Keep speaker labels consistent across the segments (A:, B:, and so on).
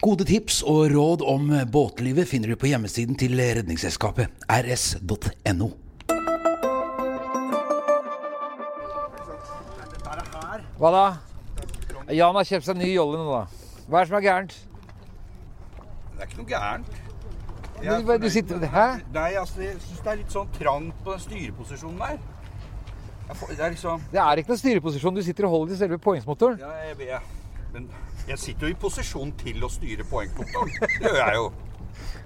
A: Gode tips og råd om båtlivet finner du på hjemmesiden til Redningsselskapet, rs.no.
B: Hva da? Jan har kjøpt seg ny jolle nå, da. Hva er det som er gærent?
C: Det er ikke noe gærent. Jeg
B: Men
C: er
B: hva- du
C: fornøyd
B: sitter-
C: med-
B: hæ?
C: Nei, altså, jeg syns det er litt sånn trangt på den styreposisjonen der. Jeg får, det er liksom
B: Det er ikke noen styreposisjon. Du sitter og holder i selve poengsmotoren.
C: Ja, jeg vet Men jeg sitter jo i posisjon til å styre poengmotoren. Det gjør jeg jo.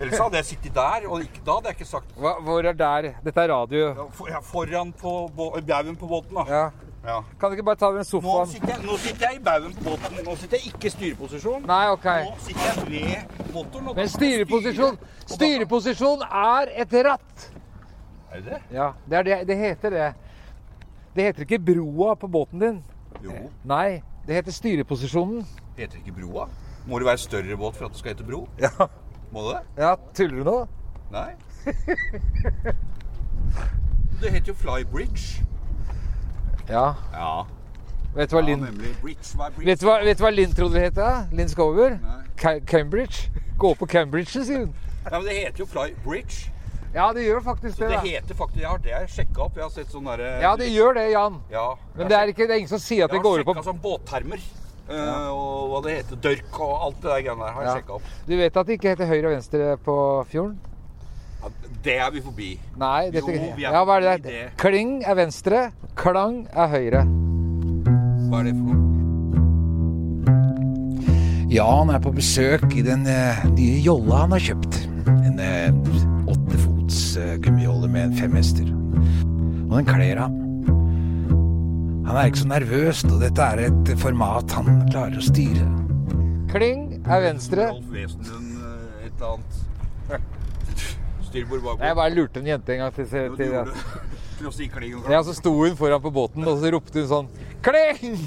C: Ellers hadde jeg sittet der, og ikke da hadde jeg ikke sagt
B: Hva, hvor er der? Dette er radio.
C: ja, for, ja, foran på bå- baugen på båten, da.
B: Ja.
C: Ja.
B: Kan du ikke bare ta den
C: Nå,
B: sofaen?
C: sitter jeg, nå sitter jeg i baugen på båten. Nå sitter jeg ikke i styreposisjon.
B: Nei, OK.
C: Nå sitter jeg ved motoren. og
B: Men
C: styrer.
B: styreposisjon
C: Og da-
B: Styreposisjon er et ratt.
C: Er det det?
B: Ja, det, er det, det heter det. Det heter ikke broa på båten din.
C: Jo.
B: Nei, det heter styreposisjonen.
C: Heter det ikke broa? Må det være større båt for at det skal hete bro?
B: Ja,
C: Må det det?
B: ja tuller du nå?
C: Nei. Det heter jo Fly Bridge.
B: Ja.
C: Ja,
B: Vet du hva Linn
C: nemlig. Bridge by bridge.
B: Vet du hva, vet du hva Linn trodde det het? da? Linn Skover?
C: Nei.
B: Ca- Cambridge? Gå på Cambridge, sier hun.
C: Nei, men det heter jo Fly Bridge.
B: Ja, det gjør faktisk det.
C: Det
B: da.
C: heter faktisk Jeg har det jeg sjekka opp. Jeg har sett sånn derre
B: Ja, det gjør det, Jan.
C: Ja.
B: Men det er, ikke, det er ingen som sier at det
C: Jeg har
B: går ut
C: sjekka
B: på
C: sånn båttermer. eh, Og hva det heter. Dørk og alt det der greiene der. Har jeg
B: Ja.
C: sjekket opp.
B: Du vet at det ikke heter høyre og venstre på fjorden?
C: Ja, det er vi forbi.
B: Nei,
C: Jo,
B: dette
C: vi er
B: Ja, hva er det?
C: forbi
B: der?
C: det.
B: Kling er venstre, klang er høyre.
C: Hva er det for noe?
A: Jan er på besøk i den eh, nye jolla han har kjøpt. En eh, åttefots eh, gummijolle med en femhester. Og den kler ham. Han er ikke så nervøs, og dette er et format han klarer å styre.
B: Kling er venstre.
C: Rolf Wesenlund, eh, et eller annet. Styrbord
B: Jeg
C: bakbord.
B: bare lurte en jente en gang til,
C: Jo,
B: til,
C: du
B: til
C: gjorde det. Til å si kling og
B: Ja, så sto hun foran på båten, og så ropte hun sånn Kling!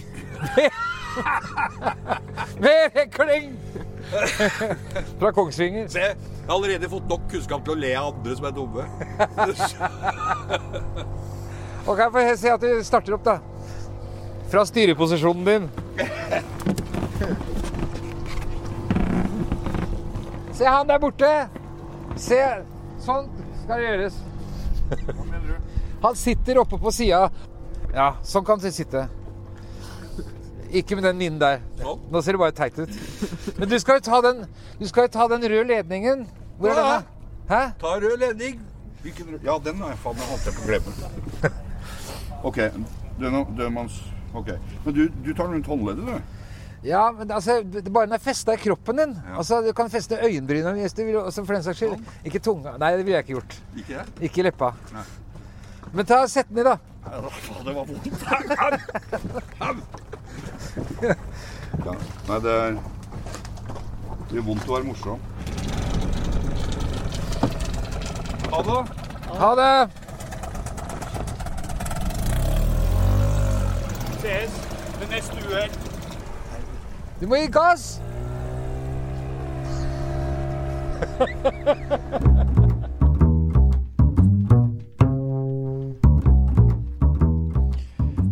B: Mer kling! Fra Kongsvinger.
C: Se, jeg har allerede fått nok kunnskap til å le av andre som er dumme.
B: Ok, får jeg se at du starter opp, da. Fra styreposisjonen din. Se han der borte! Se. Sånn skal det gjøres. Han sitter oppe på sida. Ja, sånn kan han sitte. Ikke med den minen der.
C: Sånn.
B: Nå ser det bare teit ut. Men du skal jo ta den, du skal jo ta den røde ledningen. Hvor er
C: Ja.
B: den, da? Hæ?
C: Ta rød ledning. Hvilken rød? Ja, den har jeg faen meg holdt jeg på å glemme. OK. Den er dødmanns... OK. Men du, du tar rundt håndleddet, du.
B: Ja, men altså, det det bare den er festa i kroppen din. Altså, Du kan feste øyenbryna hvis du vil. Også for den saks skyld. Ikke tunga. Nei, det ville jeg ikke gjort.
C: Ikke det?
B: Ikke leppa.
C: Nei.
B: Men ta sett den i, da.
C: Ja, da, faen, det var vondt. Au! Au! Ja. Nei, det er Det gjør vondt å være morsom. Ha det.
B: Ha det!
C: Ses ved neste uhell.
B: Du må gi gass!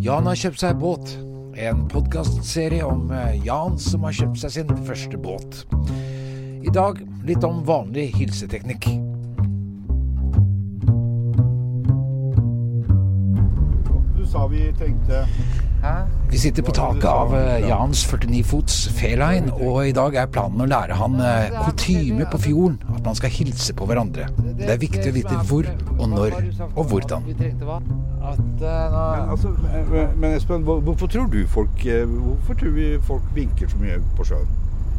A: Jan har kjøpt seg båt. En podkastserie om eh, Jan som har kjøpt seg sin første båt. I dag litt om vanlig hilseteknikk.
D: Du sa vi trengte
A: Vi sitter på taket av eh, Jans 49 fots Feline, og i dag er planen å lære han eh, kutyme på fjorden. At man skal hilse på hverandre. Det er viktig å vite hvor og når og hvordan.
B: At eh, nå
D: altså, men- Men Espen, hvor- hvorfor tror du folk eh, Hvorfor tror vi folk vinker så mye på sjøen?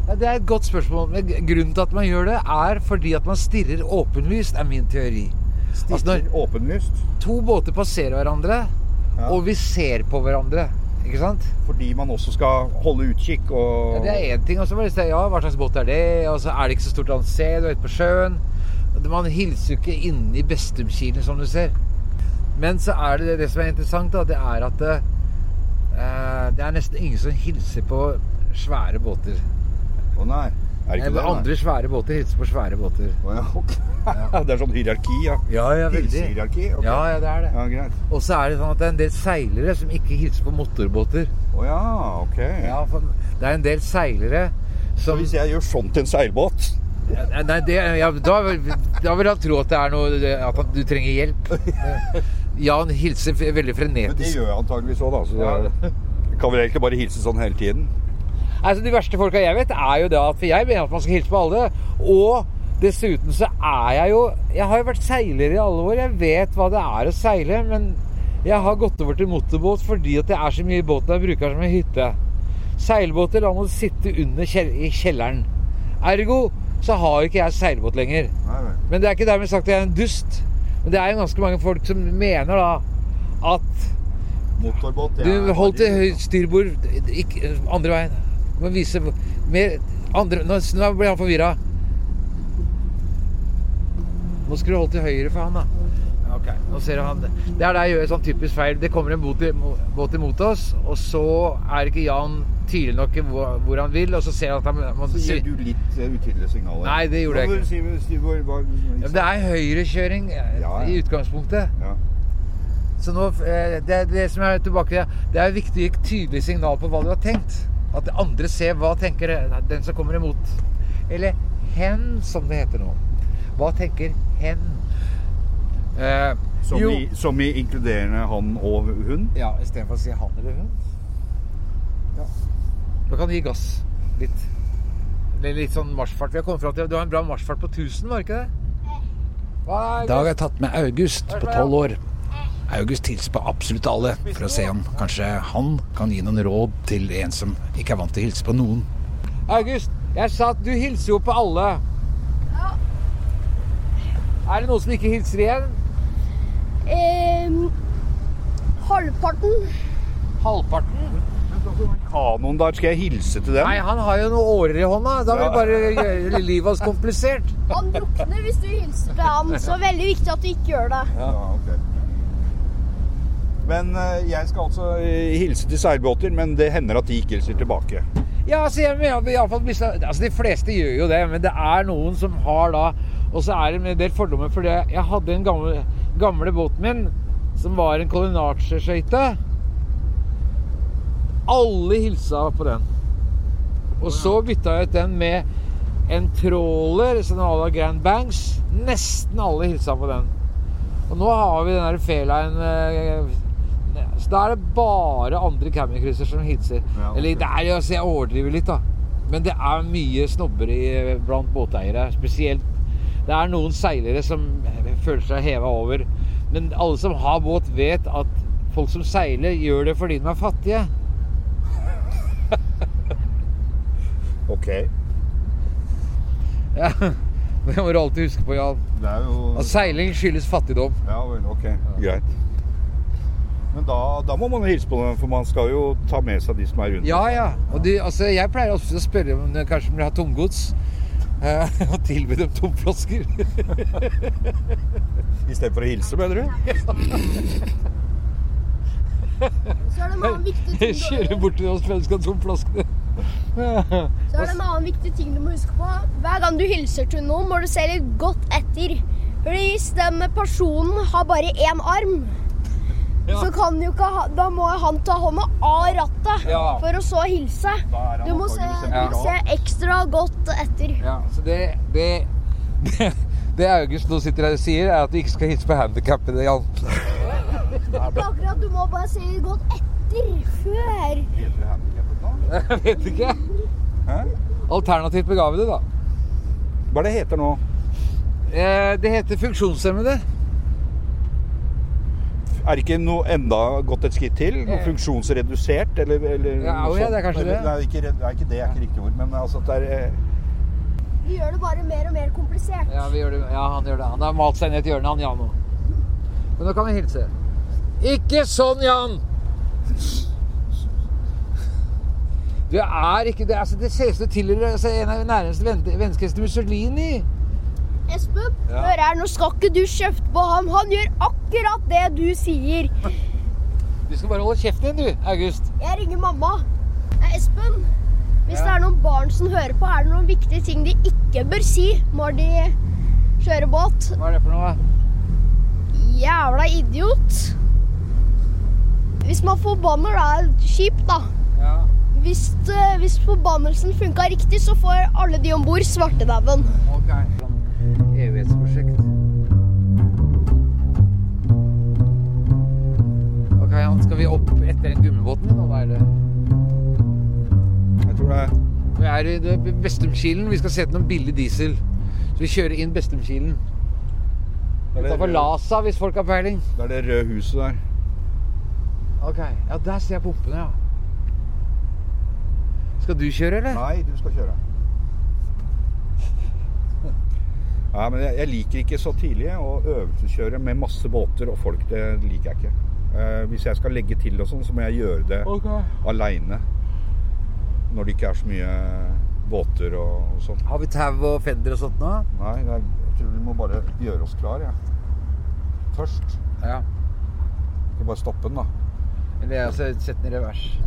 B: ja, Det er et godt spørsmål. Men grunnen til at man gjør det, er fordi at man stirrer åpenlyst, er min teori. Altså, når,
D: Åpenlyst.
B: to båter passerer hverandre,
D: Ja.
B: og vi ser på hverandre. Ikke sant?
D: Fordi man også skal holde utkikk
B: Ja,
D: og
B: det er én ting. Og så bare si ja, hva slags båt er det? Og så er det ikke så stort annet sted. Du er ute på sjøen. Man hilser jo ikke inni Bestumkilen, som du ser. Men så er det det som er interessant, da. Det er at det, eh, det er nesten ingen som hilser på svære båter.
D: Å nei. Er det ikke det?
B: Eller andre svære båter hilser på svære båter.
D: Å ja, ok. Det er sånn hierarki, ja.
B: Ja, ja, veldig.
D: Hilsehierarki? ok.
B: Ja, ja, det er det.
D: Ja, greit.
B: Og så er det sånn at det er en del seilere som ikke hilser på motorbåter.
D: Å ja, ok.
B: Ja, for det er en del seilere
E: Så
B: Som,
E: hvis jeg gjør sånn til en seilbåt
B: nei, det, ja, da, vil- da vil han tro at det er noe At han, du trenger hjelp. Jan hilser f- veldig
C: Men det
B: frenetisk.
C: gjør jeg antageligvis òg, da. Så da kan vel egentlig bare hilse sånn hele tiden.
B: Altså, de verste folka jeg vet, er jo det at For jeg mener at man skal hilse på alle. Og dessuten så er jeg jo Jeg har jo vært seiler i alle år. Jeg vet hva det er å seile. Men jeg har gått over til motorbåt fordi at det er så mye båt jeg bruker som en hytte. Seilbåter la meg sitte under kjell i kjelleren. Ergo så har ikke jeg seilbåt lenger. Men det er ikke dermed sagt at jeg er en dust. Men det er jo ganske mange folk som mener da at
E: Motorbåt det
B: du
E: er
B: hold til
E: bare-
B: høy styrbord, ikke, andre veien. Du må vise mer andre, nå, nå blir han forvirra. Nå skulle du holdt til høyre for han, da. Ok, nå ser du han. Det er der jeg gjør sånn typisk feil. Det kommer en båt, i- båt imot oss, og så er ikke Jan tydelig nok i hvor, hvor han vil, og så ser han at han må
E: Så gir du litt eh, utydelige signaler.
B: Nei, det gjorde jeg ikke. Ja, men det er høyrekjøring eh,
E: Ja, ja.
B: i utgangspunktet.
E: Ja.
B: Så nå, eh, det, er det som er tilbake til, det er viktig å gi et tydelig signal på hva du har tenkt. At andre ser hva tenker eh, den som kommer imot. Eller hen, som det heter nå. Hva tenker hen? Eh,
E: Som,
B: jo.
E: i, som i inkluderende han og hun?
B: Ja, istedenfor å si han eller hun. Da kan du gi gass litt. Eller litt sånn marsjfart. Vi har kommet fram til Du har en bra marsjfart på 1000, var det ikke det? Hva er
A: I dag har jeg tatt med August på tolv år. August hilser på absolutt alle, for å se om kanskje han kan gi noen råd til en som ikke er vant til å hilse på noen.
B: August, jeg sa at du hilser jo på alle.
F: Ja.
B: Er det noen som ikke hilser igjen?
F: Ehm, halvparten.
B: Halvparten?
E: Kanoen der, skal jeg hilse til
B: Nei,
E: dem?
B: han har jo noen årer i hånda. Da vil
E: Ja.
B: vi bare gjøre livet hans komplisert.
F: Han drukner hvis du hilser til han, så det er veldig viktig at du ikke gjør det.
E: Ja, ok.
C: Men eh, jeg skal altså eh, hilse til seilbåter, men det hender at de ikke hilser tilbake.
B: Ja, altså, jeg mener, i alle fall, hvis- altså De fleste gjør jo det, men det er noen som har da Og så er det en del fordommer for det. Jeg hadde en gamle, gamle båten min som var en kolonnasjeskøyte. Alle hilsa på den. Og så bytta jeg ut den med en tråler som à la Grand Banks. Nesten alle hilsa på den. Og nå har vi den der Feline eh, Så da er det bare andre campingkrysser som hilser.
E: Ja, ok.
B: Eller det er jo, altså, jeg overdriver litt, da. Men det er mye snobber i, eh, blant båteiere. Spesielt Det er noen seilere som eh, føler seg heva over. Men alle som har båt, vet at folk som seiler, gjør det fordi de er fattige.
E: Ok.
B: Ja. Det må du alltid huske på, Jan.
E: Det er jo
B: At seiling skyldes fattigdom.
E: Ja vel, ok.
C: Greit.
E: Men da, da
C: Da må man hilse på dem, for man skal jo ta med seg de som er rundt.
B: Ja, ja. Og de, altså, jeg pleier ofte å spørre om de kanskje vil ha tomgods. eh, Og tilby dem tomflasker.
C: Istedenfor å hilse, mener du?
F: Så er det en annen viktig ting du,
B: Kjøre bort til oss hvem skal ha tomflaskene.
F: så er det en annen viktig ting du må huske på. Hver gang du hilser til noen, må du se litt godt etter. Hvis den personen har bare én arm,
B: Ja.
F: så kan jo ikke ha, da må han ta hånda av rattet
B: Ja.
F: for å så hilse.
E: Da er han
F: Du må se,
E: antageligvis en
B: Ja.
F: se ekstra godt etter.
B: Ja, så det, det, det, det August nå sitter her og sier, er at du ikke skal hilse på handikappede, Jan.
F: Det er akkurat Du må bare se litt godt etter før.
E: heter det handikappet da?
B: Jeg vet ikke. Alternativt begavede, da.
C: Hva er det heter nå?
B: Eh, Det heter funksjonshemmede.
C: Er det ikke noe enda gått et skritt til? Noe
B: Eh.
C: funksjonsredusert, eller, eller
B: Ja,
C: noe
B: jo, ja,
C: sånt?
B: det er kanskje
C: Eller-
B: det.
C: Nei, ikke, red- det er ikke det, er ikke riktig ord. Men altså at det er eh,
F: Vi gjør det bare mer og mer komplisert.
B: Ja, vi gjør det. ja, han gjør det. Han har malt seg ned et hjørne, han Jan nå. Men nå kan vi hilse. Ikke sånn, Jan! Du er ikke det. Altså, det ser ut som du tilhører altså, en av de nærmeste venn- vennskapene til Mussolini.
F: Espen, hør her, nå skal ikke du kjefte på ham. Han gjør akkurat det du sier.
B: Du skal bare holde kjeften din, du, August.
F: Jeg ringer mamma. Eh, Espen, hvis det er noen barn som hører på, er det noen viktige ting de ikke bør si når de kjører båt?
B: Hva er det for noe?
F: Jævla idiot. Hvis man forbanner, da er det kjipt, da.
B: Ja.
F: Vi- hvis, eh, hvis forbannelsen funka riktig, så får alle de om bord svartedauden.
B: Ok. Sånn Evighetsprosjekt. Ok, Jan, skal vi opp etter den gummibåten? Nå er det...
C: Jeg tror det er
B: Vi er i det- Bestumkilen. Vi skal se etter noen billig diesel. Så vi kjører inn Bestumkilen.
C: det er
B: Utenfor
C: det-
B: Lasa, hvis folk har peiling.
C: det, er det røde huset der.
B: Ok, Ja, der ser jeg pumpene, ja. Skal du kjøre, eller?
C: Nei, du skal kjøre. Nei, men jeg, jeg liker ikke så tidlig å øvelseskjøre med masse båter og folk. Det liker jeg ikke. Eh, hvis jeg skal legge til og sånn, så må jeg gjøre det
B: Ok.
C: aleine. Når det ikke er så mye båter og, og sånn.
B: Har vi tau og fender og sånt nå?
C: Nei, det er, jeg tror vi må bare gjøre oss klar, jeg. Først.
B: Ja.
C: Skal bare stoppe den, da.
B: Eller altså, sett den i revers.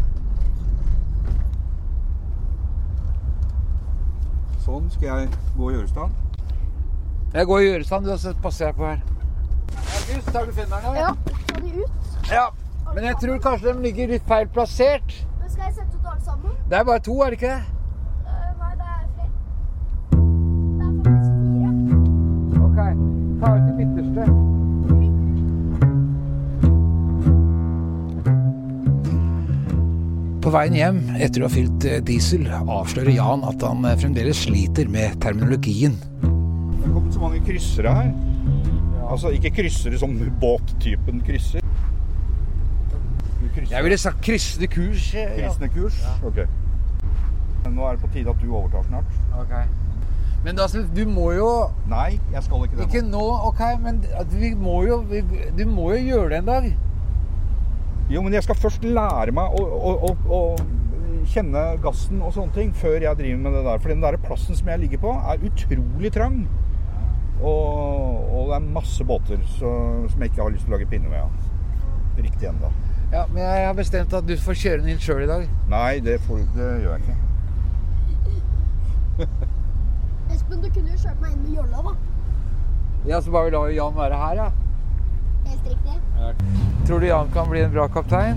C: Sånn skal jeg gå og gjøre i stand.
B: Jeg går i Gjøresand, du, og så passer jeg på her. August, har du fenderen? da?
F: Ja, ta de ut.
B: ja. Men jeg tror kanskje de ligger litt feil plassert.
F: Men skal jeg sette ut alle sammen?
B: Det er bare to, er det ikke det?
F: Eh, nei, det er flere. Det er faktisk fire.
B: Ok, ta ut det midterste.
A: På veien hjem etter å ha fylt eh, diesel avslører Jan at han eh, fremdeles sliter med terminologien.
C: Det er kommet så mange kryssere her. Altså ikke kryssere som båttypen krysser. Du krysser
B: Jeg ville sagt kryssende kurs. eh, Ja.
C: kristne kurs? Ok. Men nå er det på tide at du overtar snart.
B: Ok. Men da, Sylf, du må jo
C: Nei, jeg skal ikke det
B: Ikke nå, ok, men at vi må jo, vi, du må jo gjøre det en dag.
C: nå. Jo, men jeg skal først lære meg å, å, å, å kjenne gassen og sånne ting før jeg driver med det der. For den der plassen som jeg ligger på er utrolig trang. Og, og det er masse båter så, som jeg ikke har lyst til å lage pinne med. Ja. Riktig ennå.
B: Ja, Men jeg har bestemt at du får kjøre den inn sjøl i dag.
C: Nei, det, får, det gjør jeg ikke.
F: Espen, du kunne jo kjørt meg inn med jolla, da.
B: Ja, Så bare la Jan være her, ja.
F: Helt riktig.
B: Tror du Jan kan bli en bra kaptein?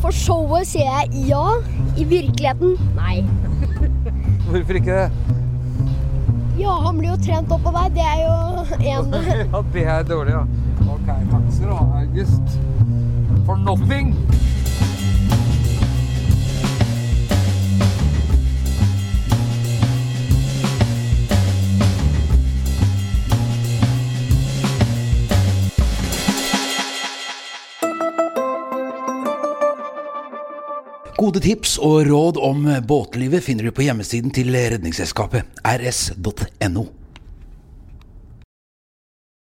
F: For showet sier jeg ja. I virkeligheten nei.
B: Hvorfor ikke det?
F: Ja, han blir jo trent opp av deg. Det er jo en
B: Ja, det er dårlig, ja. Ok, takk skal du ha, August. For nothing!
A: Gode tips og råd om båtlivet finner du på hjemmesiden til Redningsselskapet, rs.no.